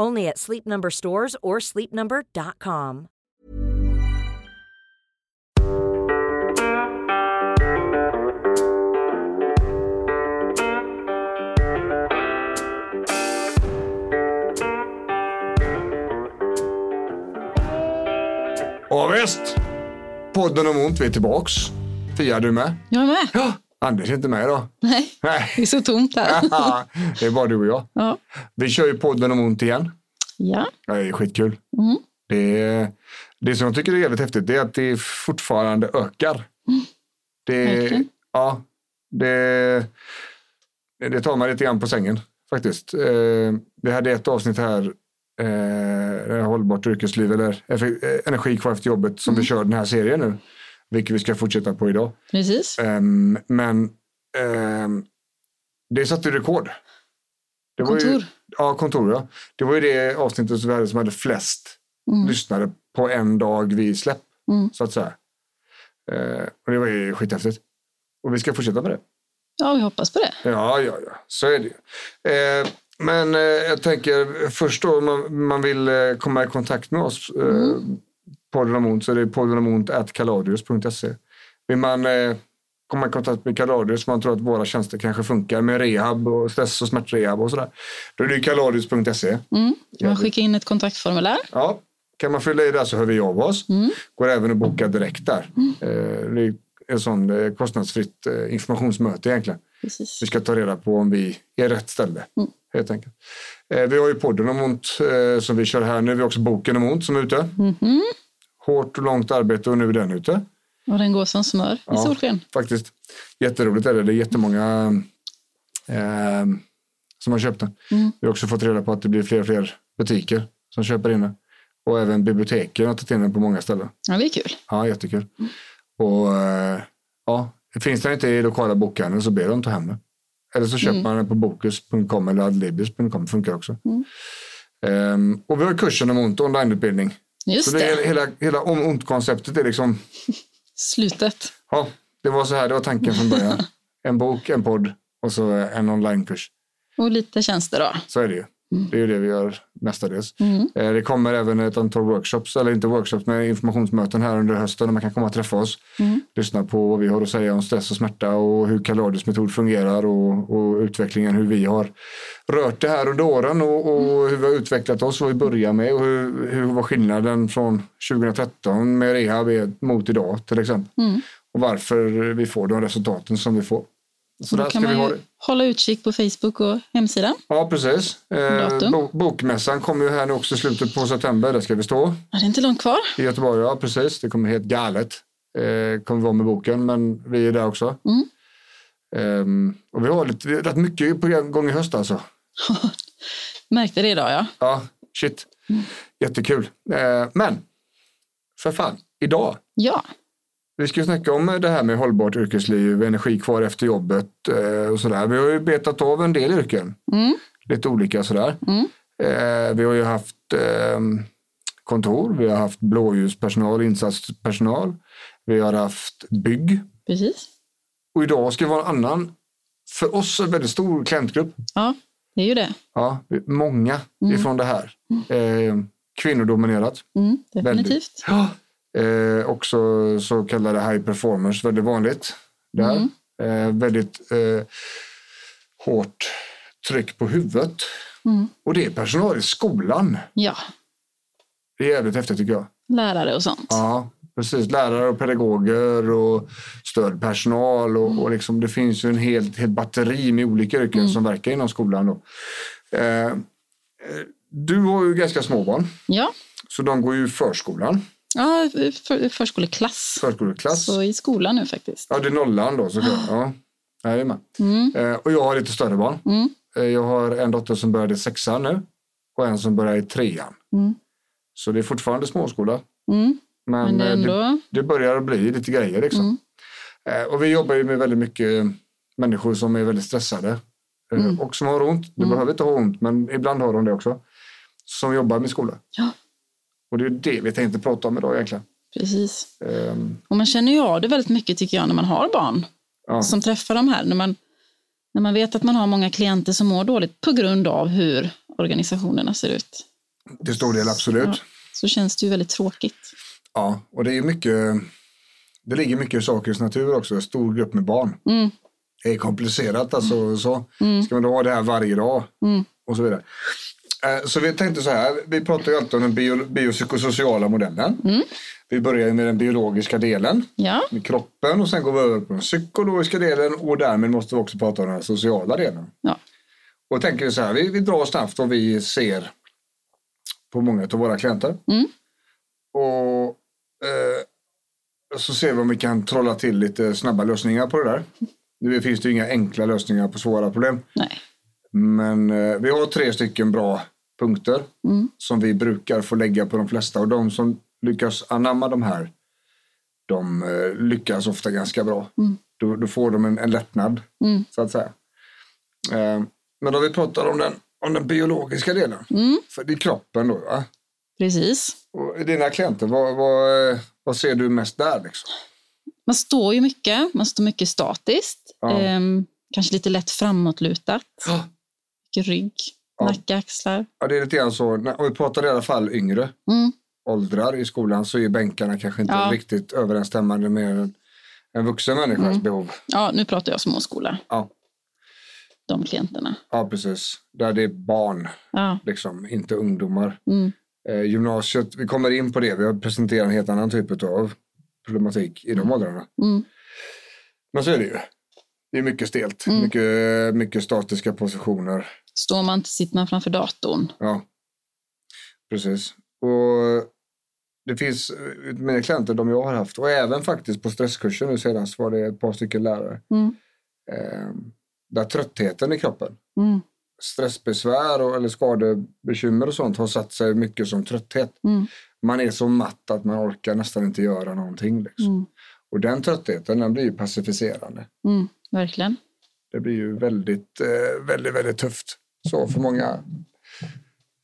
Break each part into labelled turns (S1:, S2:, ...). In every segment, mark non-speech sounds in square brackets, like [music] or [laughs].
S1: Only at Sleep Number stores or sleepnumber.com.
S2: Ja, visst. Podden om ont, vi är tillbaks. Fia, är du med?
S3: Jag är med.
S2: Ja. Anders är inte med idag.
S3: Nej,
S2: Nej. [laughs]
S3: det är så tomt här.
S2: det är bara du och jag.
S3: Ja.
S2: Vi kör ju podden om ont igen.
S3: ja.
S2: Ja, Det är skitkul.
S3: Mm.
S2: Det, är- det som jag tycker är jävligt häftigt det är att det fortfarande ökar. Det,
S3: Mm. verkligen.
S2: ja, det, det tar mig lite grann på sängen faktiskt. Eh, Vi hade ett avsnitt här, eh, hållbart yrkesliv eller effe- eh, energi kvar efter jobbet
S3: Mm.
S2: som vi kör den här serien nu. Vilket vi ska fortsätta på idag.
S3: Precis.
S2: Ehm, men ehm, det satte ju rekord. Det Var ju,
S3: Kontor.
S2: ja, kontor. Ja. Det var ju det avsnittet som vi hade som hade flest lyssnare på en dag vid släpp.
S3: Mm.
S2: Så att säga. Ehm, och det var ju skithäftigt. Och vi ska fortsätta med det.
S3: Ja, vi hoppas på det.
S2: Ja, ja, ja. Så är det ju. Ehm, men eh, jag tänker först då om man, man vill eh, komma i kontakt med oss eh, podden om ont så är det poddenomont.kaladius.se. Vill man eh, komma i kontakt med Kaladius man tror att våra tjänster kanske funkar med rehab och stress och smärtrehab och sådär. Då är det ju kaladius.se.
S3: Mm. Kan
S2: Ja,
S3: man
S2: vi-
S3: skicka in ett kontaktformulär?
S2: Ja, kan man fylla i där så hör vi av oss. Går även att boka direkt där. Eh, det är ett sånt eh, kostnadsfritt eh, informationsmöte egentligen.
S3: Precis.
S2: Vi ska ta reda på om vi är rätt ställe. Helt enkelt. Eh, vi har ju podden om ont eh, som vi kör här nu. Vi har också boken om ont som är ute. Hårt och långt arbete och nu är den ute.
S3: Och den går som smör i
S2: Ja.
S3: solsken.
S2: Faktiskt. Jätteroligt är det. Det är jättemånga eh, som har köpt den. Vi har också fått reda på att det blir fler och fler butiker som köper in den. Och även biblioteken har tagit in den på många ställen.
S3: Ja, det är kul.
S2: Ja, jättekul.
S3: Mm.
S2: Och eh, ja, finns den inte i lokala bokhandeln så ber de ta hem den. Eller så köper
S3: Mm.
S2: man den på bokus.com eller adlibius.com. funkar också. Ehm, och vi har kursen om ont, onlineutbildning. Så
S3: Just
S2: det är
S3: det.
S2: hela, hela om ont-konceptet är liksom
S3: Slutet.
S2: Ja, det var så här, det var tanken från
S3: [laughs]
S2: början. En bok, en podd och så en onlinekurs.
S3: Och lite tjänster då.
S2: Så är det ju.
S3: Mm.
S2: Det är ju det vi gör mestadels. Eh, Det kommer även ett antal workshops, eller inte workshops, men informationsmöten här under hösten där man kan komma och träffa oss.
S3: Mm.
S2: Lyssna på vad vi har att säga om stress och smärta och hur Kaladius metod fungerar och, och utvecklingen, hur vi har rört det här under åren och,
S3: Mm.
S2: och hur vi har utvecklat oss, vad vi börjar med och hur, hur var skillnaden från 2013 med rehab är mot idag till exempel.
S3: Mm.
S2: Och varför vi får de resultaten som vi får. Så
S3: Och
S2: där
S3: då
S2: ska
S3: kan man
S2: vi ha
S3: ju
S2: det.
S3: hålla utkik på Facebook och hemsidan.
S2: Ja, precis. Eh,
S3: Datum?
S2: bo- bokmässan kommer ju här nu också i slutet på september. Där ska vi stå
S3: Ja, det är inte långt kvar.
S2: i Göteborg. Ja, precis. Det kommer helt galet. Eh, kommer vara med boken, men vi är där också. Ehm, och vi har lite, vi har rätt mycket på gång i höst alltså.
S3: Märkte det idag, ja.
S2: Ja, shit. Jättekul. Eh, men, för fan, idag.
S3: Ja,
S2: Vi ska ju snacka om det här med hållbart yrkesliv, energi kvar efter jobbet eh, och sådär. Vi har ju betat av en del yrken. Lite olika sådär. Eh, Vi har ju haft eh, kontor, vi har haft blåljuspersonal, insatspersonal. Vi har haft bygg.
S3: precis.
S2: Och idag ska vi ha en annan, för oss en väldigt stor klientgrupp.
S3: Ja, det är ju det.
S2: Ja, många ifrån det här. Eh, Kvinnodominerat.
S3: Mm,
S2: Väldigt.
S3: definitivt.
S2: Ja. Eh, också så kallade high performers, väldigt vanligt där. Eh, väldigt eh, hårt tryck på huvudet. Och det är personal i skolan.
S3: Ja,
S2: Det är jävligt häftigt tycker jag.
S3: lärare och sånt.
S2: Ja, Precis, lärare och pedagoger och stödpersonal. Och, och liksom, det finns ju en helt, helt batteri med olika yrken som verkar inom skolan. Då. Eh, eh, du har ju ganska små barn,
S3: Ja,
S2: så de går ju i förskolan,
S3: ja för, förskoleklass.
S2: förskoleklass.
S3: Så i skolan nu faktiskt.
S2: Ja, det är nollan då såklart. Ja. Jajamän.
S3: Ah. Mm.
S2: Eh, och jag har lite större barn.
S3: Mm.
S2: Eh, jag har en dotter som började i sexan nu och en som börjar i trean.
S3: Mm.
S2: Så det är fortfarande småskola.
S3: Mm.
S2: Men,
S3: Men det är
S2: eh, det,
S3: ändå... Mm.
S2: det börjar bli lite grejer liksom. Eh, och vi jobbar ju med väldigt mycket eh, människor som är väldigt stressade eh,
S3: Mm.
S2: och som har ont. Du behöver inte ha ont, men ibland har de det också. Som jobbar med skola.
S3: Ja,
S2: Och det är det vi tänkte prata om idag egentligen.
S3: precis.
S2: Eh,
S3: Och man känner ju av det väldigt mycket tycker jag när man har barn
S2: ja.
S3: som träffar de här. När man, när man vet att man har många klienter som mår dåligt på grund av hur organisationerna ser ut.
S2: Till stor del absolut.
S3: Ja, så känns det ju väldigt tråkigt.
S2: Ja, och det är ju mycket. Det ligger mycket i sakens natur också. En stor grupp med barn.
S3: Mm.
S2: Det är komplicerat alltså. och Så. Ska man då ha det här varje dag? Och så vidare. Eh, Så vi tänkte så här. Vi pratar ju alltid om den bio, biopsykosociala modellen. Vi börjar ju med den biologiska delen.
S3: Ja,
S2: Med kroppen och sen går vi över på den psykologiska delen och därmed måste vi också prata om den sociala delen.
S3: ja.
S2: Och tänker vi så här, vi, vi drar snabbt vad vi ser på många av våra klienter.
S3: Mm.
S2: Och eh, så ser vi om vi kan trolla till lite snabba lösningar på det där. Nu finns det ju inga enkla lösningar på svåra problem.
S3: nej.
S2: Men eh, vi har tre stycken bra punkter
S3: Mm.
S2: som vi brukar få lägga på de flesta. Och de som lyckas anamma de här, de eh, lyckas ofta ganska bra. Då, då får de en, en lättnad,
S3: Mm.
S2: så att säga. Eh, men då vi pratar om den, om den biologiska delen,
S3: Mm.
S2: för det är kroppen då. Va?
S3: Precis.
S2: Och dina klienter, vad, vad, eh, vad ser du mest där? Liksom?
S3: Man står ju mycket, man står mycket statiskt.
S2: Ja.
S3: Ehm, kanske lite lätt framåtlutat. Mycket rygg,
S2: Ja.
S3: nacke, axlar.
S2: Ja, det är lite grann så, när- om vi pratar i alla fall yngre,
S3: Mm.
S2: åldrar i skolan så är bänkarna kanske inte
S3: Ja.
S2: riktigt överensstämmande med en, en vuxen människas
S3: Mm.
S2: behov.
S3: Ja, nu pratar jag småskola,
S2: Ja,
S3: de klienterna.
S2: ja, precis. Där det är barn,
S3: Ja,
S2: liksom, inte ungdomar.
S3: mm.
S2: Eh, gymnasiet, vi kommer in på det. Vi har presenterat en helt annan typ av problematik i de åldrarna.
S3: Mm.
S2: Men så är det ju. Det är mycket stelt,
S3: Mm.
S2: mycket, mycket statiska positioner.
S3: Står man inte, sitter man framför datorn.
S2: Ja, precis. Och det finns eh, mina klienter, de jag har haft, och även faktiskt på stresskursen nu senast var det ett par stycken lärare.
S3: Mm.
S2: Eh, där tröttheten i kroppen,
S3: Mm.
S2: stressbesvär och, eller skadebekymmer och sånt har satt sig mycket som trötthet.
S3: Mm.
S2: Man är så matt att man orkar nästan inte göra någonting. Liksom.
S3: Mm.
S2: Och den tröttheten den blir ju pacificerande.
S3: Mm. Verkligen.
S2: Det blir ju väldigt, eh, väldigt, väldigt tufft. Så för många.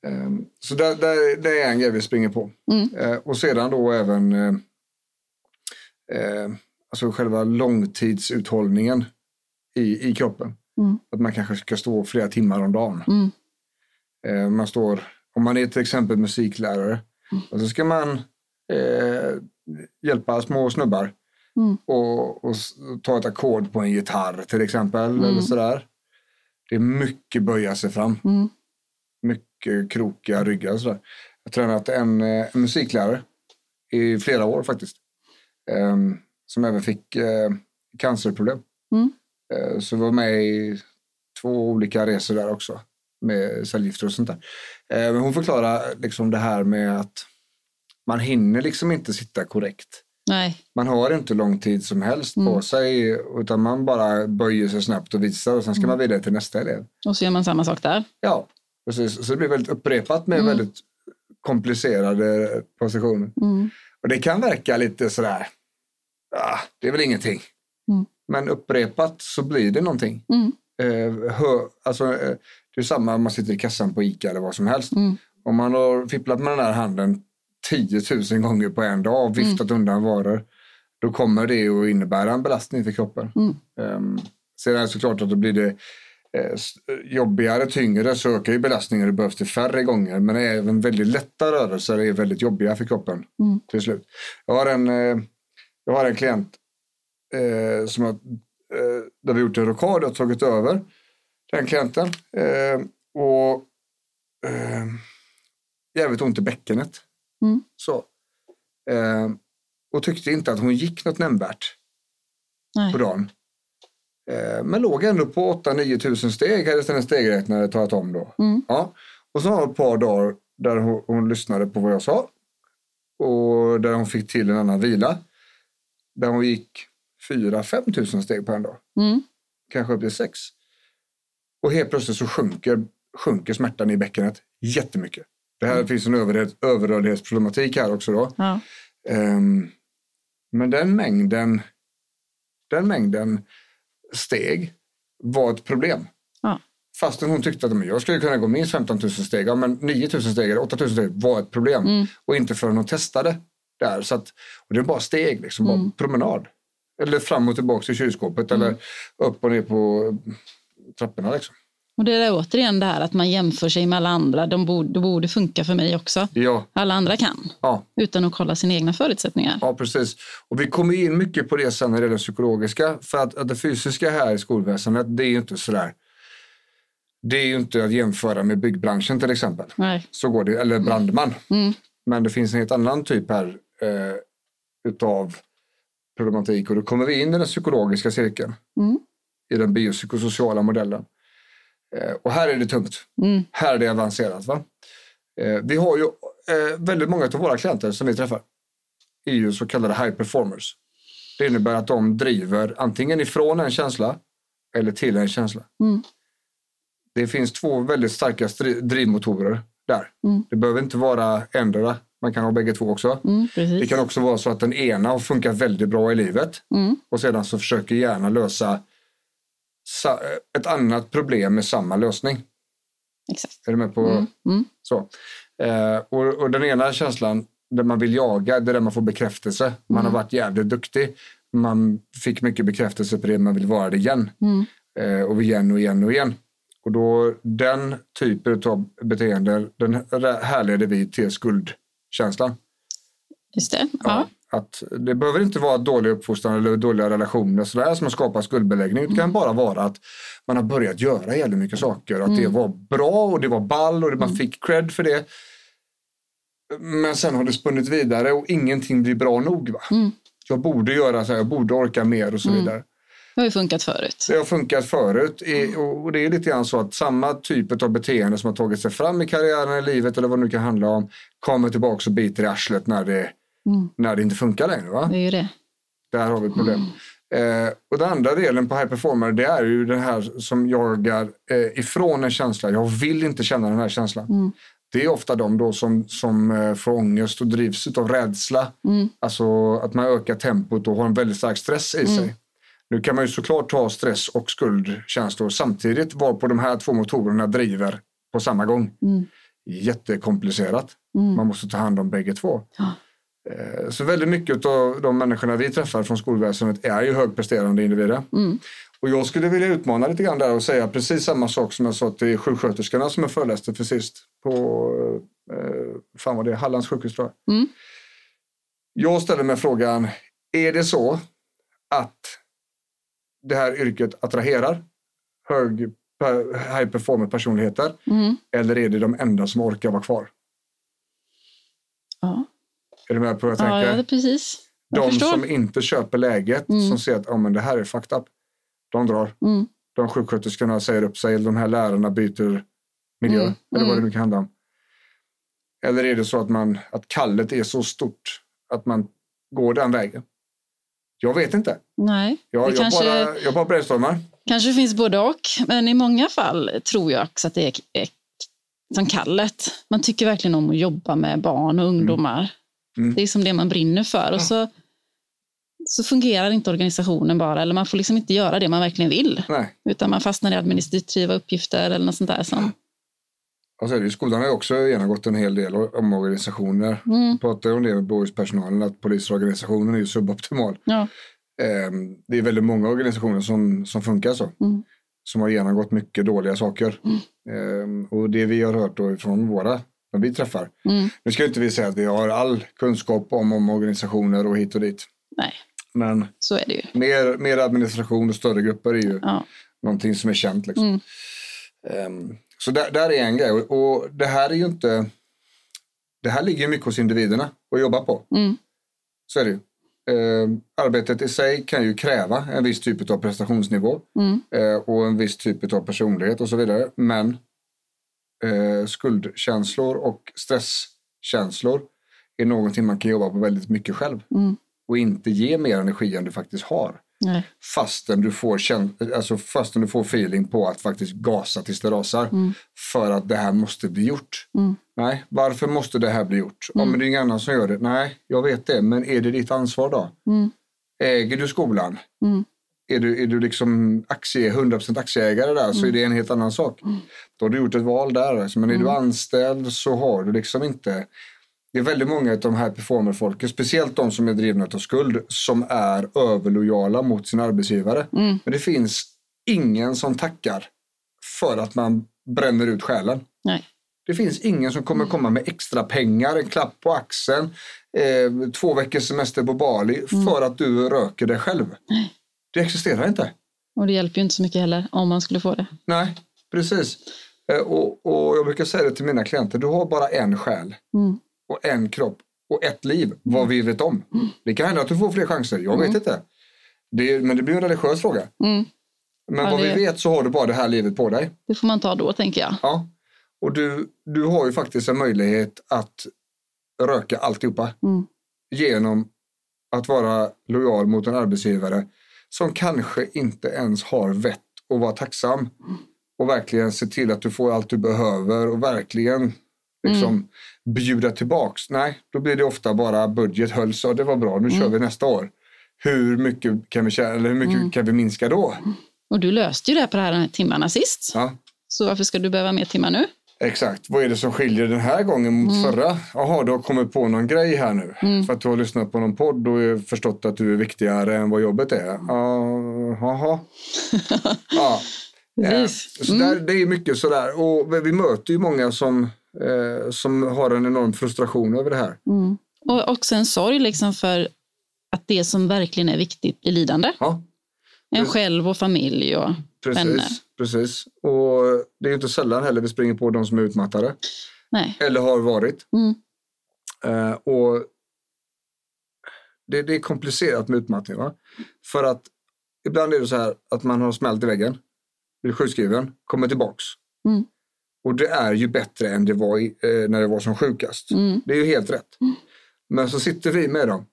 S2: Ehm, så där, där, det är en grej vi springer på.
S3: Mm.
S2: Eh, och sedan då även eh, eh, alltså själva långtidsuthållningen i, i kroppen.
S3: Mm.
S2: Att man kanske ska stå flera timmar om dagen.
S3: Mm.
S2: Eh, man står, om man är till exempel musiklärare,
S3: Mm.
S2: och så ska man eh, hjälpa små snubbar
S3: Mm.
S2: och, och s- ta ett ackord på en gitarr till exempel. Eller sådär. Det är mycket böja sig fram.
S3: Mm.
S2: Mycket krokiga ryggar och sådär. Jag har tränat en, eh, en musiklärare i flera år faktiskt. ehm, som även fick eh, cancerproblem.
S3: Mm.
S2: Eh, så var med i två olika resor där också med cellgifter och sånt där. Eh, men hon förklarar liksom det här med att man hinner liksom inte sitta korrekt.
S3: Nej,
S2: Man har inte lång tid som helst på sig utan man bara böjer sig snabbt och visar och sen ska man vidare till nästa elev.
S3: och så gör man samma sak där.
S2: Ja, precis. Så det blir väldigt upprepat med väldigt komplicerade positioner.
S3: Mm.
S2: Och det kan verka lite sådär, ah, det är väl ingenting.
S3: Mm.
S2: Men upprepat så blir det någonting.
S3: Mm.
S2: Eh, hö, alltså, eh, det är samma om man sitter i kassan på Ica eller vad som helst.
S3: Mm.
S2: Om man har fipplat med den här handen 10 000 gånger på en dag och viftat
S3: Mm.
S2: undan varor, då kommer det att innebära en belastning för kroppen.
S3: Mm.
S2: Ehm, sen är det såklart att då blir det eh, s- jobbigare, tyngre, så ökar ju belastningen och det behövs det färre gånger. Men även väldigt lätta rörelser är väldigt jobbiga för kroppen
S3: Mm.
S2: till slut. Jag har en, eh, jag har en klient eh, som har, eh, där vi gjort en rockad och tagit över den klienten. Eh, och eh, jävligt ont i bäckenet.
S3: Mm.
S2: Så. Eh, och tyckte inte att hon gick något nämnvärt
S3: Nej.
S2: på dagen. Eh, Men låg ändå på 8-9 tusen steg hade en stegräknare talat om då.
S3: Mm.
S2: Ja. Och så har hon ett par dagar där hon, hon lyssnade på vad jag sa och där hon fick till en annan vila. Där hon gick 4-5 tusen steg på en dag,
S3: Mm.
S2: kanske upp till 6. Och helt plötsligt så sjunker, sjunker smärtan i bäckenet jättemycket. Det här finns en överrörlighet- överrörlighetsproblematik här också då.
S3: Ja.
S2: Ehm, men den mängden, den mängden steg var ett problem.
S3: Ja.
S2: Fastän hon tyckte att men jag skulle kunna gå minst 15 000 steg, ja, men 9 000 steg eller 8 000 steg var ett problem. Och inte förrän hon testade där. Så att, och det är bara steg, liksom, bara promenad. Eller fram och tillbaka till kylskåpet eller upp och ner på trapporna. Liksom.
S3: Och det är återigen det här att man jämför sig med alla andra. De borde, det borde funka för mig också.
S2: Ja,
S3: Alla andra kan.
S2: ja.
S3: Utan att kolla sina egna förutsättningar.
S2: Ja, precis. Och vi kommer in mycket på det sen när det gäller det psykologiska. För att, att det fysiska här i skolväsendet, det är ju inte sådär. Det är ju inte att jämföra med byggbranschen till exempel.
S3: Nej.
S2: Så går det, eller brandman.
S3: Mm.
S2: Men det finns en helt annan typ här eh, utav problematik. Och då kommer vi in i den psykologiska cirkeln.
S3: Mm.
S2: I den biopsykosociala modellen. Eh, och här är det tungt.
S3: Mm.
S2: Här är det avancerat. Va? Eh, vi har ju eh, väldigt många av våra klienter som vi träffar är ju så kallade high performers. Det innebär att de driver antingen ifrån en känsla eller till en känsla.
S3: Mm.
S2: Det finns två väldigt starka stri- drivmotorer där.
S3: Mm.
S2: Det behöver inte vara ändra. Man kan ha bägge två också.
S3: Mm.
S2: Det
S3: Precis.
S2: kan också vara så att den ena har funkat väldigt bra i livet
S3: Mm.
S2: och sedan så försöker hjärnan lösa sa- ett annat problem med samma lösning.
S3: Exakt.
S2: Är du med på
S3: Mm. Mm.
S2: så. Eh, och, och den ena känslan där man vill jaga, det är där man får bekräftelse. Man
S3: Mm.
S2: har varit jävligt duktig. Man fick mycket bekräftelse på det, man vill vara det igen.
S3: Mm.
S2: Eh, och igen och igen och igen. Och då den typen av beteende, den här- härleder vi till skuldkänslan.
S3: Just det. Ja.
S2: Ja, Att det behöver inte vara dålig uppfostran eller dåliga relationer sådär, som har skapat skuldbeläggning.
S3: Mm.
S2: Det kan bara vara att man har börjat göra jävligt mycket saker. Att
S3: Mm.
S2: det var bra och det var ball och det, man fick cred för det. Men sen har det spunnit vidare och ingenting blir bra nog. Va?
S3: Mm.
S2: Jag borde göra så här, jag borde orka mer och så vidare.
S3: Det har ju funkat förut.
S2: Det har funkat förut i, och och det är lite grann så att samma typ av beteende som har tagit sig fram i karriären, i livet eller vad det nu kan handla om kommer tillbaka och biter i arslet när det,
S3: Mm.
S2: när det inte funkar längre. Va?
S3: Det är ju det.
S2: Där har vi ett
S3: Mm.
S2: problem. Eh, och den andra delen på high performer det är ju den här som jagar eh, ifrån en känsla. Jag vill inte känna den här känslan.
S3: Mm.
S2: Det är ofta de då som, som eh, får ångest och drivs av rädsla.
S3: Mm.
S2: Alltså att man ökar tempot och har en väldigt stark stress i
S3: Mm.
S2: sig. Nu kan man ju såklart ta stress och skuldkänslor samtidigt varpå de här två motorerna driver på samma gång.
S3: Mm.
S2: Jättekomplicerat.
S3: Mm.
S2: Man måste ta hand om bägge två.
S3: Ja.
S2: Eh, Så väldigt mycket av de människorna vi träffar från skolväsendet är ju högpresterande individer.
S3: Mm.
S2: Och jag skulle vilja utmana lite grann där och säga precis samma sak som jag sa till sjuksköterskorna som jag föreläste för sist på eh, fan vad det är, Hallands sjukhus tror jag.
S3: Mm.
S2: Jag ställer mig frågan, är det så att det här yrket attraherar hög, high performer personligheter
S3: Mm.
S2: eller är det de enda som orkar vara kvar?
S3: Ja.
S2: Är du med på vad jag tänker?
S3: Ja, ja, det är precis. Jag
S2: De
S3: förstår.
S2: som inte köper läget,
S3: Mm.
S2: som ser att oh, men det här är fucked up, de drar.
S3: Mm.
S2: De sjuksköterskorna säger upp sig, eller de här lärarna byter miljö,
S3: Mm,
S2: eller vad det
S3: mm.
S2: nu kan handla om. Eller är det så att, man, att kallet är så stort att man går den vägen? Jag vet inte.
S3: Nej,
S2: Jag,
S3: det
S2: jag,
S3: kanske,
S2: bara, jag bara brainstormar.
S3: kanske finns både och. Men i många fall tror jag också att det är, är som kallet. Man tycker verkligen om att jobba med barn och ungdomar.
S2: Mm.
S3: Det är som det man brinner för. Och så, så fungerar inte organisationen bara. Eller man får liksom inte göra det man verkligen vill.
S2: Nej.
S3: Utan man fastnar i administrativa uppgifter eller något sånt där. Som,
S2: Och så är Alltså, det ju, skolan har ju också genomgått en hel del omorganisationer.
S3: mm,
S2: Jag pratade om det med blåljuspersonalen, att polisorganisationen är ju suboptimal.
S3: ja,
S2: Ehm, det är väldigt många organisationer som, som funkar så.
S3: Mm.
S2: Som har genomgått mycket dåliga saker. Ehm, och det vi har hört då från våra, när vi träffar.
S3: mm,
S2: Nu ska inte vi säga att vi har all kunskap om, om organisationer och hit och dit.
S3: nej,
S2: Men
S3: så är det ju.
S2: mer, mer administration och större grupper är ju
S3: Ja,
S2: någonting som är känt. Liksom.
S3: Mm.
S2: Ehm, så där, där är en grej. Och, och det här är ju inte... Det här ligger ju mycket hos individerna att jobba på.
S3: mm,
S2: Så är det ju. Eh, arbetet i sig kan ju kräva en viss typ av prestationsnivå
S3: Mm.
S2: eh, och en viss typ av personlighet och så vidare. Men eh, skuldkänslor och stresskänslor är någonting man kan jobba på väldigt mycket själv
S3: Mm.
S2: och inte ge mer energi än du faktiskt har.
S3: Nej.
S2: Fastän du, får käns- alltså fastän du får feeling på att faktiskt gasa tills det rasar. För att det här måste bli gjort. Nej, varför måste det här bli gjort? Ja, men det är ingen annan som gör det. Nej, jag vet det. Men är det ditt ansvar då? Äger du skolan? Är du, är du liksom aktie, 100% aktieägare där så är det en helt annan sak. Då har du gjort ett val där. Alltså. Men är du anställd så har du liksom inte... Det är väldigt många av de här performerfolken, speciellt de som är drivna av skuld, som är överlojala mot sin arbetsgivare. Men det finns ingen som tackar för att man bränner ut själen.
S3: Nej.
S2: Det finns ingen som kommer komma med extra pengar, en klapp på axeln, eh, två veckors semester på Bali för att du röker dig själv. Det existerar inte.
S3: Och det hjälper ju inte så mycket heller om man skulle få det.
S2: Nej, precis. Eh, och, och jag brukar säga det till mina klienter, du har bara en själ
S3: Mm.
S2: och en kropp och ett liv, vad vi vet om.
S3: Mm.
S2: Det kan hända att du får fler chanser, jag vet inte. Det är, men det blir en religiös fråga. Men
S3: Mm. Ja,
S2: vad vi
S3: det-
S2: vet så har du bara det här livet på dig.
S3: Det får man ta då, tänker jag.
S2: Ja. Och du, du har ju faktiskt en möjlighet att röka alltihopa
S3: Mm.
S2: genom att vara lojal mot en arbetsgivare som kanske inte ens har vett att vara tacksam och verkligen se till att du får allt du behöver och verkligen liksom bjuda tillbaks. Nej, då blir det ofta bara budget hölls och det var bra, nu kör vi nästa år. Hur mycket kan vi, tjäna, eller hur mycket kan vi minska då?
S3: Och du löste ju det här på de här timmarna sist.
S2: Ja.
S3: Så varför ska du behöva mer timmar nu?
S2: Exakt, vad är det som skiljer den här gången mot förra? Jaha, du har kommit på någon grej här nu. För att du har lyssnat på någon podd och eh, förstått att du är viktigare än vad jobbet är. Ja, Jaha. ja. Eh,
S3: Precis.
S2: så där, det är mycket sådär. Och vi- vi möter ju många som, eh, som har en enorm frustration över det här.
S3: Och också en sorg liksom för att det som verkligen är viktigt blir lidande.
S2: Ja,
S3: En själv och familj och
S2: precis,
S3: vänner.
S2: precis. Och det är ju inte sällan heller vi springer på de som är utmattade.
S3: Nej.
S2: Eller har varit.
S3: Mm.
S2: Eh, och det, det är komplicerat med utmattning. Va? För att ibland är det så här att man har smält i väggen, blir sjukskriven, kommer tillbaks.
S3: Mm.
S2: Och det är ju bättre än det var i, eh, när det var som sjukast.
S3: Mm.
S2: Det är ju helt rätt. Men så sitter vi med dem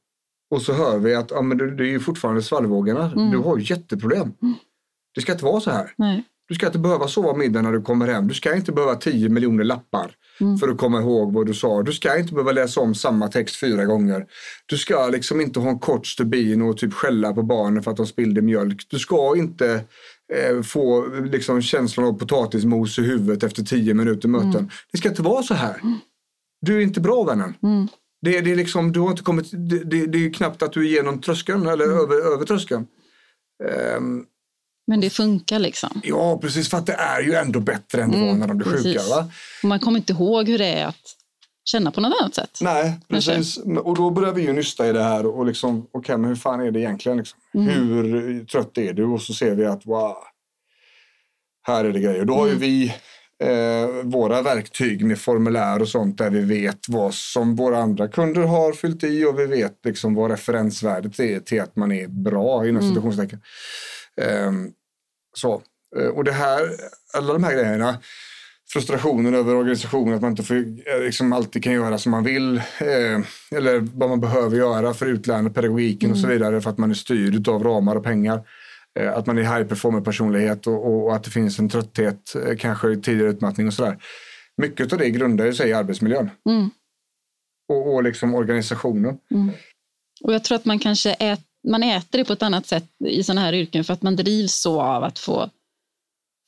S2: och så hör vi att ja, men du, du är ju fortfarande svallvågorna.
S3: Mm.
S2: Du har ju jätteproblem. Det ska inte vara så här.
S3: Nej.
S2: Du ska inte behöva sova middag när du kommer hem. Du ska inte behöva 10 miljoner lappar för att komma ihåg vad du sa. Du ska inte behöva läsa om samma text fyra gånger. Du ska liksom inte ha en kort stubin och typ skälla på barnen för att de spillde mjölk. Du ska inte eh, få liksom, känslan av potatismos i huvudet efter 10 minuter möten. Det ska inte vara så här. Du är inte bra vännen. Det, det, är liksom, du har inte kommit, det, det, det är ju knappt att du är genom tröskeln eller över, över tröskeln.
S3: Men det funkar liksom.
S2: Ja, precis. För att det är ju ändå bättre än det var när de blev sjuka.
S3: precis.
S2: Va?
S3: Och man kommer inte ihåg hur det är att känna på något annat sätt.
S2: Nej, precis. Och då börjar vi ju nysta i det här och liksom, okej, men hur fan är det egentligen? Liksom? Hur trött är du? Och så ser vi att, wow, här är det grejer. Då har ju vi eh, våra verktyg med formulär och sånt där vi vet vad som våra andra kunder har fyllt i och vi vet liksom vad referensvärdet är till att man är bra inom citationstecken. Ehm, så. Eh, Och det här, alla de här grejerna, frustrationen över organisationen, att man inte får, eh, liksom alltid kan göra som man vill eh, eller vad man behöver göra för utlärande, pedagogiken och så vidare för att man är styrd av ramar och pengar. Eh, att man är high performer personlighet och, och, och att det finns en trötthet, eh, kanske tidigare utmattning och sådär. Mycket av det grundar ju sig i arbetsmiljön
S3: Mm.
S2: och, och liksom organisationen.
S3: Och jag tror att man kanske ät, man äter det på ett annat sätt i sådana här yrken för att man drivs så av att få,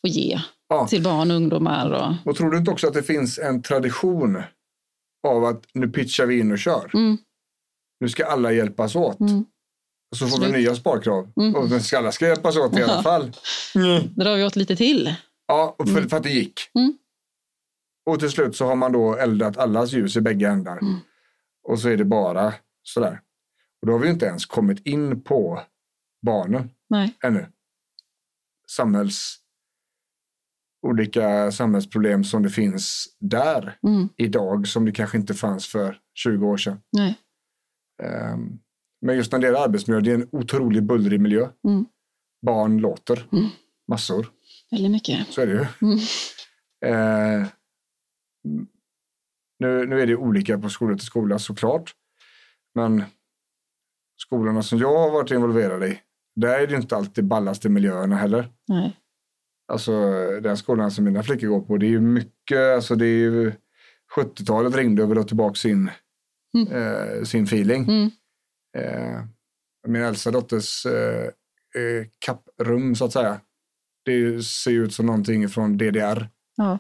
S3: få ge
S2: Ja.
S3: till barn och ungdomar. Och,
S2: Och tror du inte också att det finns en tradition av att nu pitchar vi in och kör.
S3: Mm.
S2: Nu ska alla hjälpas åt.
S3: Mm.
S2: Och så får
S3: Slut.
S2: vi nya sparkrav.
S3: Mm.
S2: Och nu ska alla ska hjälpas åt i alla
S3: Ja.
S2: fall.
S3: drar vi åt lite till.
S2: Ja, och för, för att det gick.
S3: Mm.
S2: Och till slut så har man då eldat allas ljus i bägge ändar.
S3: Mm.
S2: Och så är det bara sådär. Och då har vi ju inte ens kommit in på barnen
S3: Nej.
S2: ännu. Samhälls, olika samhällsproblem som det finns där
S3: Mm.
S2: idag som det kanske inte fanns för 20 år sedan.
S3: Nej.
S2: Ehm, Men just när det gäller arbetsmiljö, det är en otroligt bullrig miljö.
S3: Mm.
S2: Barn låter
S3: Mm.
S2: massor,
S3: Väldigt mycket.
S2: så är det ju.
S3: Mm.
S2: Eh, nu, nu är det olika på skola till skola såklart. Men skolorna som jag har varit involverad i, där är det inte alltid ballaste miljöerna heller.
S3: Nej.
S2: Alltså den skolan som mina flickor går på, det är ju mycket, alltså det är ju 70-talet ringde och ville ha tillbaka sin,
S3: Mm.
S2: eh, sin feeling.
S3: Mm.
S2: Eh, min äldsta dotters eh, eh, kapprum så att säga, det ser ju ut som någonting från DDR.
S3: Ja.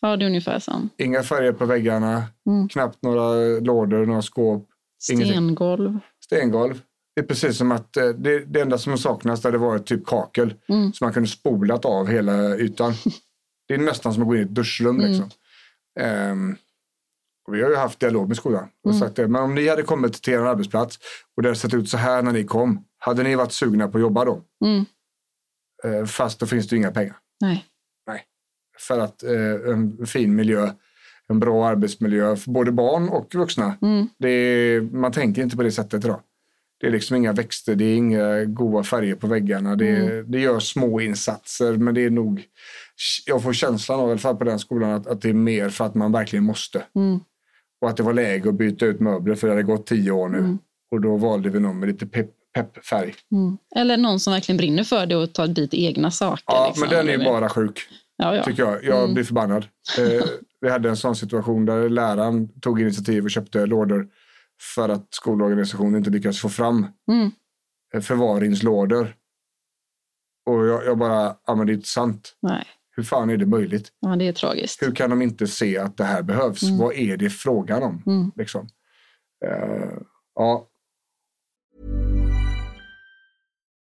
S3: ja, det är ungefär som
S2: Inga färger på väggarna,
S3: Mm.
S2: knappt några lådor, några skåp, Ingenting.
S3: stengolv.
S2: stengolv. Det är precis som att eh, det, det enda som saknas där det var ett typ kakel
S3: Mm.
S2: som man kunde spolat av hela
S3: [laughs]
S2: ytan. Det är nästan som att gå in i ett duschrum.
S3: Mm.
S2: Liksom. Ehm, och vi har ju haft dialog med skolan och
S3: Mm.
S2: sagt det, men om ni hade kommit till er arbetsplats och det hade sett ut så här när ni kom, hade ni varit sugna på att jobba då?
S3: Mm.
S2: Eh, fast då finns det ju inga pengar.
S3: Nej.
S2: För att eh, en fin miljö, en bra arbetsmiljö för både barn och vuxna,
S3: Mm.
S2: det är, man tänker inte på det sättet idag. Det är liksom inga växter, det är inga goda färger på väggarna. Det,
S3: Mm.
S2: det gör små insatser, men det är nog... Jag får känslan av, i alla fall på den skolan, att, att det är mer för att man verkligen måste.
S3: Mm.
S2: Och att det var läge att byta ut möbler, för det hade gått tio år nu. Och då valde vi någon med lite pepp, peppfärg.
S3: Mm. Eller någon som verkligen brinner för det och tar dit egna saker.
S2: Ja,
S3: liksom.
S2: men den är ju
S3: Eller-
S2: bara sjuk.
S3: Ja, Mm. ja.
S2: tycker jag. Jag blir förbannad.
S3: [laughs]
S2: Eh, vi hade en sån situation där läraren tog initiativ och köpte lådor för att skolorganisationen inte lyckades få fram
S3: Mm.
S2: eh, förvaringslådor. Och jag, jag bara, ja men det är inte sant.
S3: Nej.
S2: Hur fan är det möjligt?
S3: Ja, det är tragiskt.
S2: Hur kan de inte se att det här behövs? Vad är det frågan om?
S3: Mm.
S2: Liksom. Eh, ja,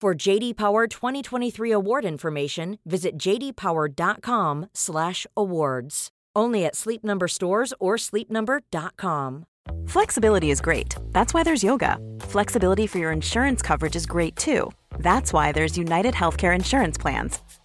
S1: For JD Power 2023 award information, visit jdpower.com/awards. Only at Sleep Number stores or sleepnumber.com.
S4: Flexibility is great. That's why there's yoga. Flexibility for your insurance coverage is great too. That's why there's United Healthcare Insurance Plans.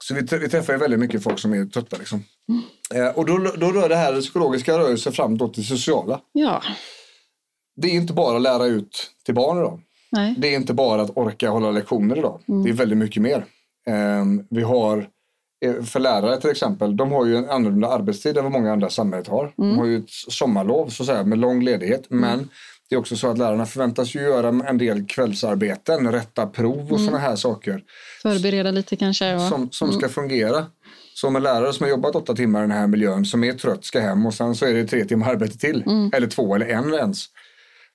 S2: Så vi, tr- vi träffar ju väldigt mycket folk som är trötta. Liksom.
S3: Mm.
S2: Eh, och då, då rör det här psykologiska rörelsen fram då till sociala.
S3: Ja,
S2: Det är inte bara att lära ut till barn idag.
S3: nej.
S2: Det är inte bara att orka hålla lektioner idag. Det är väldigt mycket mer. Ehm, vi har, eh, för lärare till exempel, de har ju en annorlunda arbetstid än vad många andra i samhället har. De har ju ett sommarlov så att säga, med lång ledighet. Men det är också så att lärarna förväntas ju göra en del kvällsarbeten, rätta prov och sådana här saker
S3: Förbereda lite kanske. Och...
S2: som, som ska fungera. Så om en lärare som har jobbat åtta timmar i den här miljön som är trött ska hem och sen så är det tre timmar arbete till. Eller två eller en ens.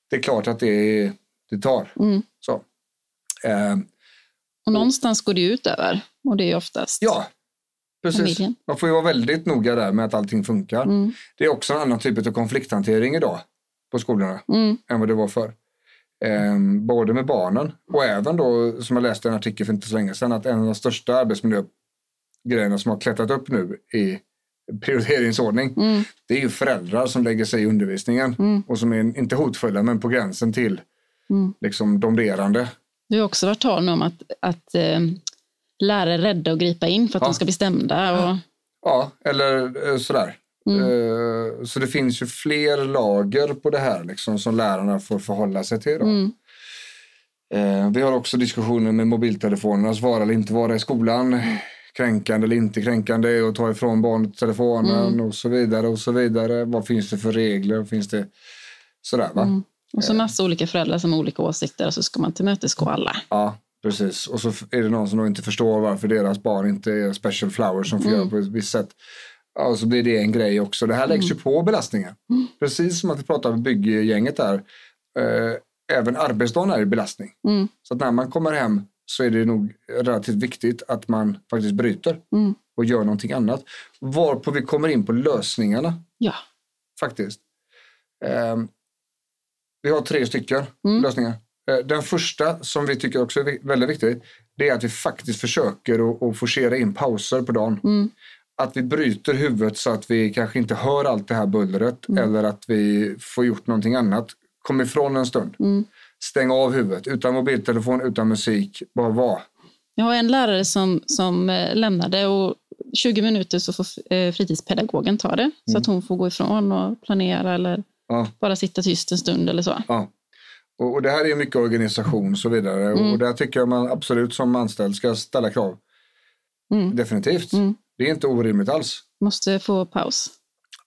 S2: Det är klart att det, det tar. Så. Eh,
S3: Och någonstans går det ju ut över. Och det är ju oftast.
S2: ja, precis.
S3: Familjen. Mm.
S2: Man får ju vara väldigt noga där med att allting funkar. Det är också en annan typ av konflikthantering idag på skolorna
S3: Mm.
S2: än vad det var förr. Eh, både med barnen och även då, som jag läste i en artikel för inte så länge sedan, att en av de största arbetsmiljögrejerna som har klättrat upp nu i prioriteringsordning,
S3: Mm.
S2: det är ju föräldrar som lägger sig i undervisningen och som är inte hotfulla men på gränsen till
S3: Mm.
S2: liksom domderande.
S3: Det har också varit tal nu om att, att eh, lärare är rädda att gripa in för att
S2: Ja.
S3: de ska bli stämda. Och...
S2: Ja, eller eh, sådär. Eh, Så det finns ju fler lager på det här liksom, som lärarna får förhålla sig till. Då. Eh, Vi har också diskussioner med mobiltelefonernas vara eller inte vara i skolan. Kränkande eller inte kränkande och ta ifrån barnet telefonen och så vidare. och så vidare. Vad finns det för regler? Finns det sådär va? Eh.
S3: Och så massa olika föräldrar som har olika åsikter och så ska man tillmötesgå alla.
S2: Ja, Precis, och så är det någon som då inte förstår varför deras barn inte är special flowers som får
S3: Mm.
S2: göra på ett visst sätt. Ja, och så blir det en grej också. Det här läggs
S3: Mm.
S2: ju på belastningar. Precis som att vi pratade om bygggänget där. Eh, även arbetsdagen är ju belastning.
S3: Mm.
S2: Så att när man kommer hem så är det nog relativt viktigt att man faktiskt bryter
S3: Mm.
S2: och gör någonting annat. Varpå vi kommer in på lösningarna
S3: Ja.
S2: faktiskt. Ehm, vi har tre stycken
S3: Mm.
S2: lösningar. Eh, Den första som vi tycker också är vi- väldigt viktig, det är att vi faktiskt försöker att, att forcera in pauser på dagen.
S3: Mm.
S2: Att vi bryter huvudet så att vi kanske inte hör allt det här bullret
S3: Mm.
S2: eller att vi får gjort någonting annat. Kom ifrån en stund.
S3: Mm.
S2: Stäng av huvudet, utan mobiltelefon, utan musik, bara vara.
S3: Jag har en lärare som, som eh, lämnade och 20 minuter så får f- eh, fritidspedagogen ta det.
S2: Mm.
S3: Så att hon får gå ifrån och planera eller
S2: Ja.
S3: bara sitta tyst en stund eller så.
S2: Ja. Och, och det här är ju mycket organisation och så vidare. Och där tycker jag man absolut som anställd ska ställa krav.
S3: Mm.
S2: Definitivt.
S3: Mm.
S2: Det är inte orimligt alls.
S3: Måste få paus.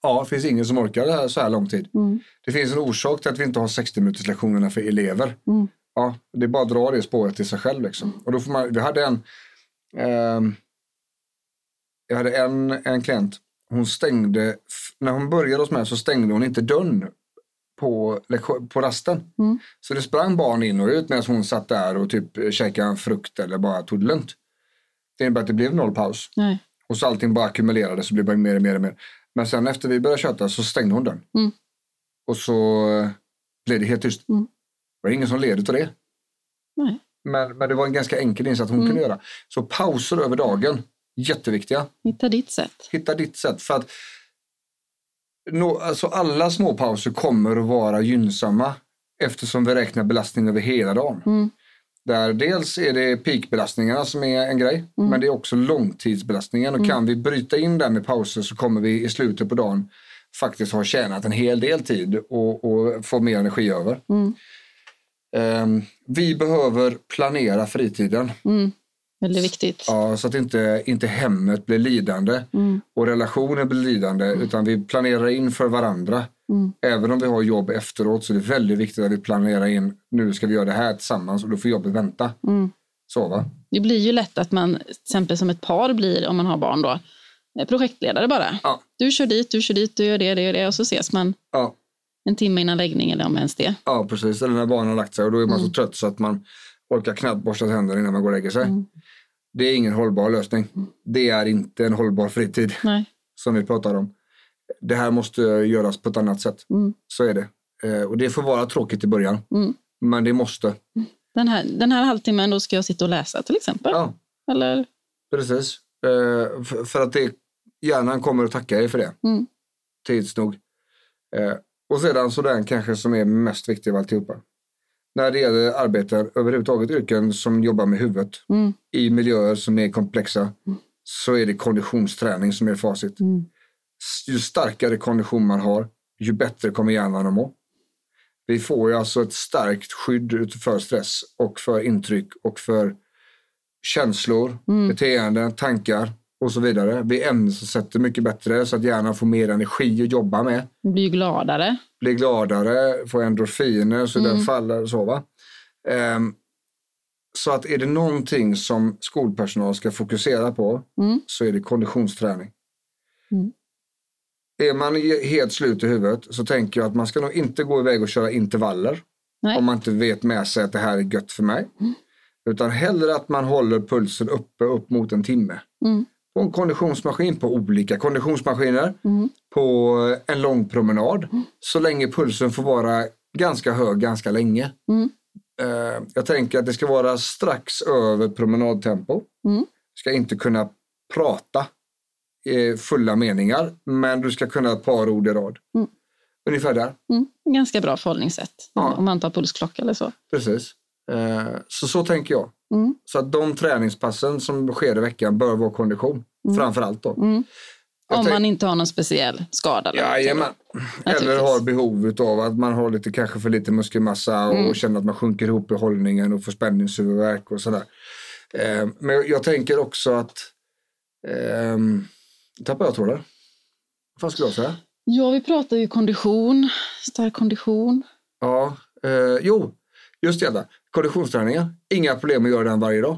S2: Ja, det finns ingen som orkar det här så här lång tid.
S3: Mm.
S2: Det finns en orsak till att vi inte har 60 minuters lektionerna för elever.
S3: Mm.
S2: Ja, det är bara att dra det spåret till sig själv. Liksom. Och då får man, vi hade en, ehm, jag hade en, en klient, hon stängde, f- när hon började hos mig så stängde hon inte dörren på, lektion- på rasten.
S3: Mm.
S2: Så det sprang barn in och ut medan hon satt där och typ käkade en frukt eller bara tog det lugnt. Det innebär att det blev noll paus.
S3: Nej.
S2: Och så allting bara ackumulerades och blev bara mer och mer och mer. Men sen efter vi började köta så stängde hon dörren.
S3: Mm.
S2: Och så eh, blev det helt tyst.
S3: Mm.
S2: Det var ingen som led av det.
S3: Nej.
S2: Men, men det var en ganska enkel insats
S3: Mm.
S2: hon kunde göra. Så pauser över dagen, jätteviktiga.
S3: Hitta ditt sätt.
S2: Hitta ditt sätt. För att nå- alltså alla små pauser kommer att vara gynnsamma eftersom vi räknar belastning över hela dagen.
S3: Mm.
S2: Där dels är det peakbelastningarna som är en grej,
S3: Mm.
S2: men det är också långtidsbelastningen. Och kan vi bryta in där med pauser så kommer vi i slutet på dagen faktiskt ha tjänat en hel del tid och, och få mer energi över.
S3: Mm.
S2: Ehm, vi behöver planera fritiden
S3: Mm. Väldigt viktigt.
S2: ja, så att inte, inte hemmet blir lidande
S3: Mm.
S2: och relationer blir lidande utan vi planerar in för varandra.
S3: Mm.
S2: Även om vi har jobb efteråt så är det väldigt viktigt att vi planerar in nu ska vi göra det här tillsammans och då får jobbet vänta.
S3: Mm.
S2: Så va?
S3: Det blir ju lätt att man, till exempel som ett par blir om man har barn då, eh, projektledare bara.
S2: Ja.
S3: Du kör dit, du kör dit, du gör det, det gör det och så ses man
S2: Ja,
S3: en timme innan läggning eller om ens det.
S2: Ja, precis. Eller när barnen har lagt sig och då är
S3: Mm.
S2: man så trött så att man orkar knappt borsta tänderna innan man går och lägger sig.
S3: Mm.
S2: Det är ingen hållbar lösning. Det är inte en hållbar fritid
S3: Nej.
S2: som vi pratar om. Det här måste göras på ett annat sätt.
S3: Mm.
S2: Så är det. Eh, Och det får vara tråkigt i början.
S3: Mm.
S2: Men det måste.
S3: Den, här, den här halvtimmen då ska jag sitta och läsa till exempel.
S2: Ja,
S3: Eller
S2: precis. Eh, f- För att det, hjärnan kommer att tacka er för det.
S3: Mm.
S2: Tids nog. Eh, Och sedan så den kanske som är mest viktig av alltihopa. När det gäller arbeten, överhuvudtaget yrken som jobbar med huvudet.
S3: Mm.
S2: i miljöer som är komplexa så är det konditionsträning som är facit.
S3: Mm.
S2: S- Ju starkare kondition man har, ju bättre kommer hjärnan att må. Vi får ju alltså ett starkt skydd ut- för stress och för intryck och för känslor,
S3: Mm.
S2: beteenden, tankar och så vidare. Vi ämnessätter mycket bättre så att hjärnan får mer energi att jobba med
S3: man blir ju gladare.
S2: blir gladare, får endorfiner så
S3: Mm.
S2: den faller och så. Va? Ehm, så att är det någonting som skolpersonal ska fokusera på
S3: Mm.
S2: så är det konditionsträning.
S3: Mm.
S2: Är man i- helt slut i huvudet så tänker jag att man ska nog inte gå iväg och köra intervaller
S3: Nej. Mm.
S2: om man inte vet med sig att det här är gött för mig. Utan hellre att man håller pulsen uppe upp mot en timme.
S3: Mm.
S2: På en konditionsmaskin, på olika konditionsmaskiner,
S3: Mm.
S2: på en lång promenad. Så länge pulsen får vara ganska hög ganska länge.
S3: Mm.
S2: Eh, Jag tänker att det ska vara strax över promenadtempo.
S3: Mm.
S2: Du ska inte kunna prata eh, fulla meningar, men du ska kunna ett par ord i rad.
S3: Mm.
S2: Ungefär där.
S3: Mm. Ganska bra förhållningssätt
S2: Ja.
S3: om man tar pulsklocka eller så.
S2: Precis. Eh, Så, så tänker jag.
S3: Mm.
S2: Så att de träningspassen som sker i veckan bör vara kondition. Framför allt då.
S3: Mm.
S2: Jag
S3: Om
S2: tänk-
S3: man inte har någon speciell skada. eller någonting.
S2: Jajamän. Eller har behov av att man har lite, kanske för lite muskelmassa och
S3: Mm.
S2: känner att man sjunker ihop i hållningen och får spänningshuvudvärk och sådär. Eh, Men jag tänker också att... ehm, tappar jag tråden? Vad fan skulle jag säga?
S3: Ja, vi pratar ju kondition, stark kondition.
S2: Ja, eh, jo, just det. Edda. Konditionsträningen, inga problem att göra den varje dag.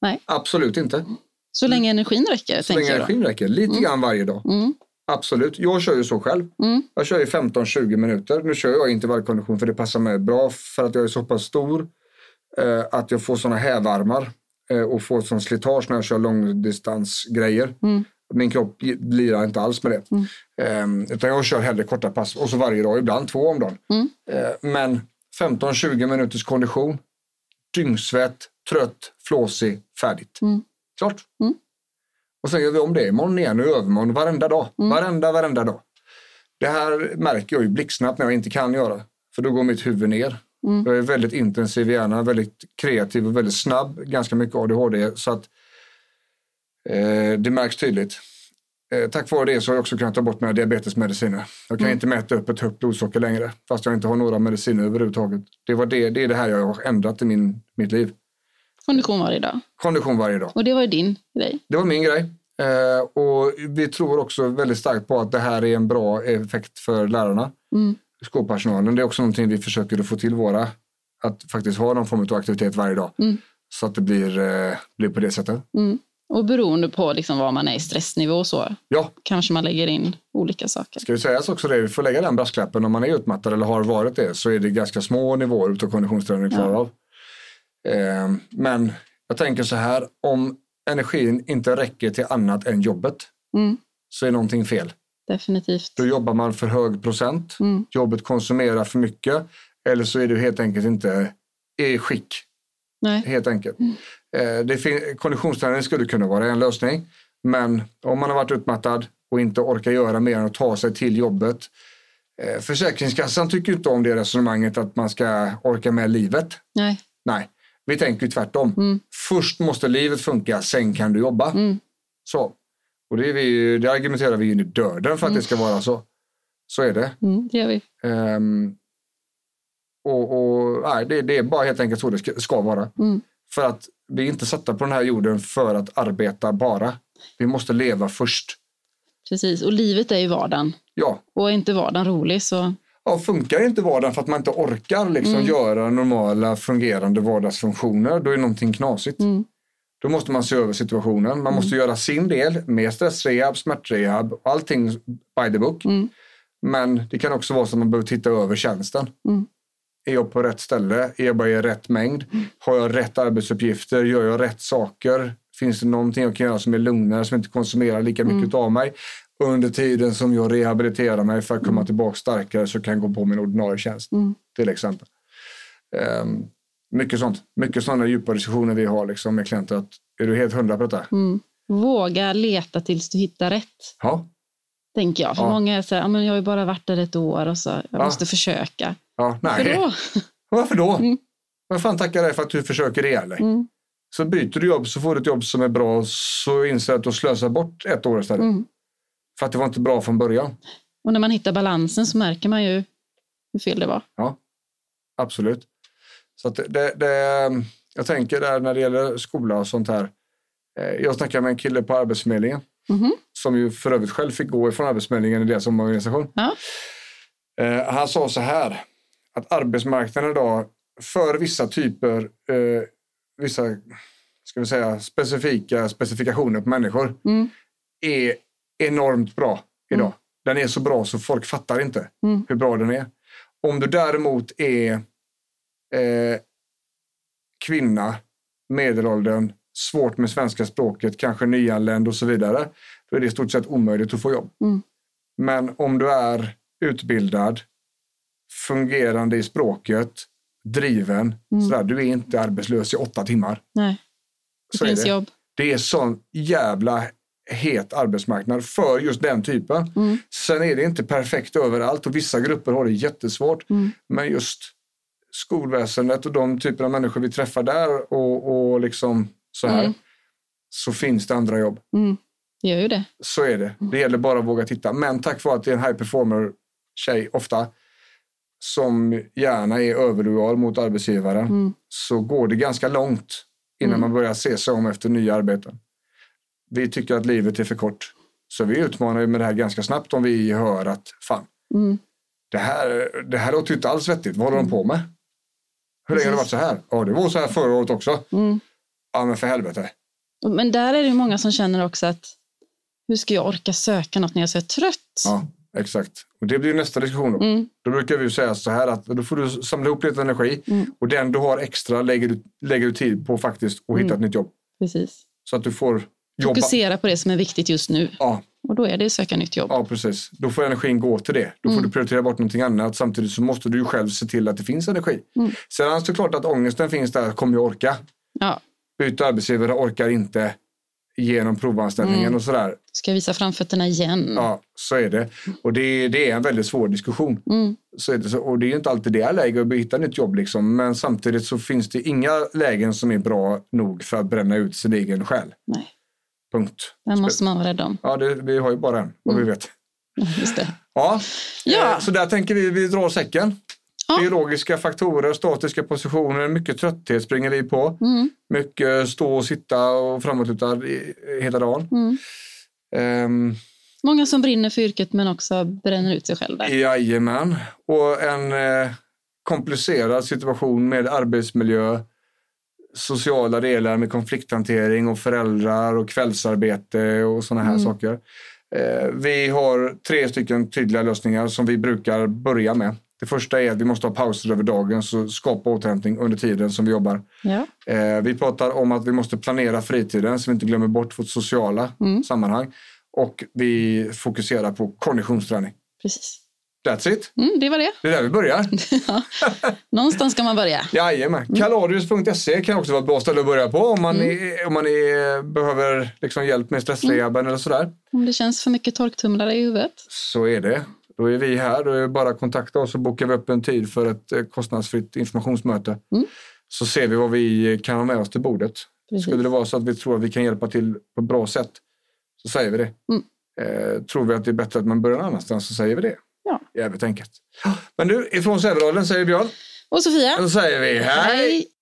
S3: Nej.
S2: Absolut inte.
S3: Så länge energin räcker,
S2: Mm. Så
S3: tänker
S2: länge
S3: jag då.
S2: energin räcker. Lite grann varje dag.
S3: Mm.
S2: Absolut. Jag kör ju så själv.
S3: Mm.
S2: Jag kör ju 15-20 minuter. Nu kör jag intervallkondition för det passar mig bra för att jag är så pass stor eh, att jag får såna hävarmar eh, och får sån slitage när jag kör långdistansgrejer.
S3: Mm.
S2: Min kropp gi- lirar inte alls med det. Mm. utan jag kör hellre korta pass och så varje dag, ibland två om dagen.
S3: Mm.
S2: Eh, men 15-20 minuters kondition, dyngsvett, trött, flåsig, färdigt.
S3: Mm.
S2: Klart.
S3: Mm.
S2: Och sen gör vi om det imorgon igen och i övermorgon, varenda dag. Varenda, varenda dag. Det här märker jag ju blixtsnabbt när jag inte kan göra. För då går mitt huvud ner.
S3: Mm.
S2: Jag är väldigt intensiv i hjärnan, väldigt kreativ och väldigt snabb. Ganska mycket ADHD. Så att eh, det märks tydligt. Eh, tack vare det så har jag också kunnat ta bort mina diabetesmediciner. Jag kan inte mäta upp ett högt blodsocker längre. Fast jag inte har några mediciner överhuvudtaget. Det, var det, det är det här jag har ändrat i min, mitt liv.
S3: Kondition varje dag.
S2: Kondition varje dag.
S3: Och det var ju din grej.
S2: Det var min grej. Eh, och vi tror också väldigt starkt på att det här är en bra effekt för lärarna,
S3: Mm.
S2: skolpersonalen. Det är också någonting vi försöker att få till våra, att faktiskt ha någon form av aktivitet varje dag.
S3: Mm.
S2: Så att det blir, eh, blir på det sättet.
S3: Mm. Och beroende på liksom vad man är i stressnivå och så
S2: Ja,
S3: kanske man lägger in olika saker.
S2: ska det sägas också det, vi får lägga den brasklappen om man är utmattad eller har varit det så är det ganska små nivåer utav konditionsträning klarar av. Eh, men jag tänker så här, om energin inte räcker till annat än jobbet
S3: Mm.
S2: så är någonting fel.
S3: Definitivt.
S2: Då jobbar man för hög procent.
S3: Mm.
S2: Jobbet konsumerar för mycket. Eller så är du helt enkelt inte i skick.
S3: Nej.
S2: Helt enkelt. Eh, Det fin- konditionsträning skulle kunna vara en lösning. Men om man har varit utmattad och inte orkar göra mer än att ta sig till jobbet. eh, Försäkringskassan tycker ju inte om det resonemanget att man ska orka med livet.
S3: Nej.
S2: Nej, vi tänker ju tvärtom.
S3: Mm.
S2: Först måste livet funka, sen kan du jobba.
S3: Mm.
S2: Så. Och det, är vi, ju- det argumenterar vi ju in i döden för att det ska vara så. Så är det.
S3: Mm. Det gör vi.
S2: Ehm, och, och, nej, det, det är bara helt enkelt så det ska, ska vara.
S3: Mm.
S2: För att vi är inte satta på den här jorden för att arbeta bara. Vi måste leva först.
S3: Precis. Och livet är ju vardagen.
S2: Ja,
S3: Och är inte vardagen rolig så...
S2: ja funkar inte vardagen för att man inte orkar liksom
S3: Mm.
S2: göra normala fungerande vardagsfunktioner, då är någonting knasigt.
S3: Mm.
S2: Då måste man se över situationen. Man måste göra sin del med stressrehab, smärtrehab och allting by the book.
S3: Mm.
S2: Men det kan också vara så att man behöver titta över tjänsten.
S3: Mm.
S2: Är jag på rätt ställe? Är jag bara i rätt mängd? Har jag rätt arbetsuppgifter? Gör jag rätt saker? Finns det någonting jag kan göra som är lugnare, som inte konsumerar lika
S3: Mm.
S2: mycket av mig? Under tiden som jag rehabiliterar mig för att
S3: Mm.
S2: komma tillbaka starkare så kan jag gå på min ordinarie tjänst. Till exempel. Ehm, mycket sånt. Mycket sådana djupa diskussioner vi har liksom, med klienter. Att, är du helt hundra på detta?
S3: Mm. Våga leta tills du hittar rätt.
S2: Ja.
S3: Tänker jag. För
S2: Ja.
S3: många är så här, "Ja, men jag har ju bara varit där ett år och så jag
S2: Ja.
S3: måste försöka.
S2: ja. Nej.
S3: För då?
S2: Varför då?
S3: Mm.
S2: Vad fan tackar dig för att du försöker ihjäl dig?
S3: Mm.
S2: Så byter du jobb så får du ett jobb som är bra så inser du att du slösar bort ett år istället.
S3: Mm.
S2: För att det var inte bra från början.
S3: Och när man hittar balansen så märker man ju hur fel det var.
S2: Ja, absolut. Så att det, det, jag tänker där när det gäller skola och sånt här. Eh, Jag snackade med en kille på Arbetsförmedlingen
S3: Mhm.
S2: som ju för övrigt själv fick gå ifrån Arbetsförmedlingen i deras omorganisation.
S3: Ja.
S2: Eh, Han sa så här att arbetsmarknaden idag för vissa typer, eh, vissa ska vi säga, specifika specifikationer på människor
S3: Mm.
S2: är enormt bra idag. Den är så bra så folk fattar inte
S3: Mm.
S2: hur bra den är. Om du däremot är eh, kvinna, medelåldern, svårt med svenska språket, kanske nyanländ och så vidare, då är det i stort sett omöjligt att få jobb.
S3: Mm.
S2: Men om du är utbildad, fungerande i språket, driven,
S3: Mm.
S2: sådär, du är inte arbetslös i åtta timmar.
S3: Nej, det
S2: Så är
S3: finns
S2: det.
S3: jobb.
S2: Det är sån jävla het arbetsmarknad för just den typen.
S3: Mm.
S2: Sen är det inte perfekt överallt och vissa grupper har det jättesvårt.
S3: Mm.
S2: Men just skolväsendet och de typer av människor vi träffar där och, och liksom så här
S3: Mm.
S2: så finns det andra jobb.
S3: Mm. Det gör ju det.
S2: Så är det. Det gäller bara att våga titta. Men tack vare att det är en high performer tjej ofta som gärna är överlojal mot arbetsgivaren
S3: Mm.
S2: så går det ganska långt innan man börjar se sig om efter nya arbeten. Vi tycker att livet är för kort. Så vi utmanar ju med det här ganska snabbt om vi hör att fan,
S3: Mm.
S2: det här, det här låter ju inte alls vettigt. Vad håller de på med? Hur länge har det varit så här? Ja, det var så här förra året också.
S3: Mm.
S2: Ja, men för helvete.
S3: Men där är det ju många som känner också att hur ska jag orka söka något när jag är så trött?
S2: Ja, exakt. Och det blir ju nästa diskussion då.
S3: Mm.
S2: Då brukar vi ju säga så här att då får du samla ihop lite energi
S3: Mm.
S2: och den du har extra lägger du, lägger du tid på faktiskt och hitta ett nytt jobb.
S3: Precis.
S2: Så att du får jobba.
S3: Mm. Fokusera på det som är viktigt just nu.
S2: Ja,
S3: Och då är det söka nytt jobb.
S2: ja, precis. Då får energin gå till det. Då får
S3: Mm.
S2: du prioritera bort någonting annat. Samtidigt så måste du ju själv se till att det finns energi.
S3: Mm.
S2: Sen är det såklart att ångesten finns där. Kommer jag orka?
S3: Ja.
S2: Byta arbetsgivare orkar inte genom provanställningen
S3: Mm.
S2: och sådär.
S3: Ska jag visa framfötterna igen?
S2: Ja, så är det. Och det, det är en väldigt svår diskussion.
S3: Mm.
S2: Så är det, så, och det är ju inte alltid det är läge att hitta nytt jobb. Liksom. Men samtidigt så finns det inga lägen som är bra nog för att bränna ut sin egen själ.
S3: Nej,
S2: Punkt.
S3: den måste man vara rädd om.
S2: Ja, det, vi har ju bara en, vad vi vet.
S3: Mm. [laughs] Just det.
S2: Ja.
S3: Ja.
S2: Eh, Så där tänker vi, vi drar säcken.
S3: Ja.
S2: Biologiska faktorer, statiska positioner, mycket trötthet springer vi på.
S3: Mm.
S2: Mycket stå och sitta och framåtlutad i- hela dagen.
S3: Mm.
S2: Ehm,
S3: Många som brinner för yrket men också bränner ut sig själva.
S2: Jajamän. Och en eh, komplicerad situation med arbetsmiljö, sociala delar med konflikthantering och föräldrar och kvällsarbete och sådana här saker. Eh, vi har tre stycken tydliga lösningar som vi brukar börja med. Det första är att vi måste ha pauser över dagen, så skapa återhämtning under tiden som vi jobbar.
S3: Ja.
S2: Eh, vi pratar om att vi måste planera fritiden så vi inte glömmer bort vårt sociala
S3: Mm.
S2: sammanhang. Och vi fokuserar på konditionsträning.
S3: Precis.
S2: That's it.
S3: Mm, det var det. [laughs]
S2: Det är där vi börjar.
S3: Någonstans ska man börja.
S2: Jajamän. Kalorius.se kan också vara ett bra ställe att börja på om man,
S3: Mm.
S2: är, om man är, behöver liksom hjälp med stressrehaben eller sådär.
S3: Om det känns för mycket torktumlare i huvudet.
S2: Så är det. Då är vi här. Då är det bara att kontakta oss och bokar vi upp en tid för ett eh, kostnadsfritt informationsmöte.
S3: Mm.
S2: Så ser vi vad vi eh, kan ha med oss till bordet.
S3: Precis.
S2: Skulle det vara så att vi tror att vi kan hjälpa till på ett bra sätt så säger vi det.
S3: Mm.
S2: Eh, tror vi att det är bättre att man börjar någon annanstans så säger vi det.
S3: Ja.
S2: Jävligt enkelt. Men du, ifrån Sävedalen säger Björn.
S3: Och Sofia.
S2: Då säger vi hej!
S3: Hej.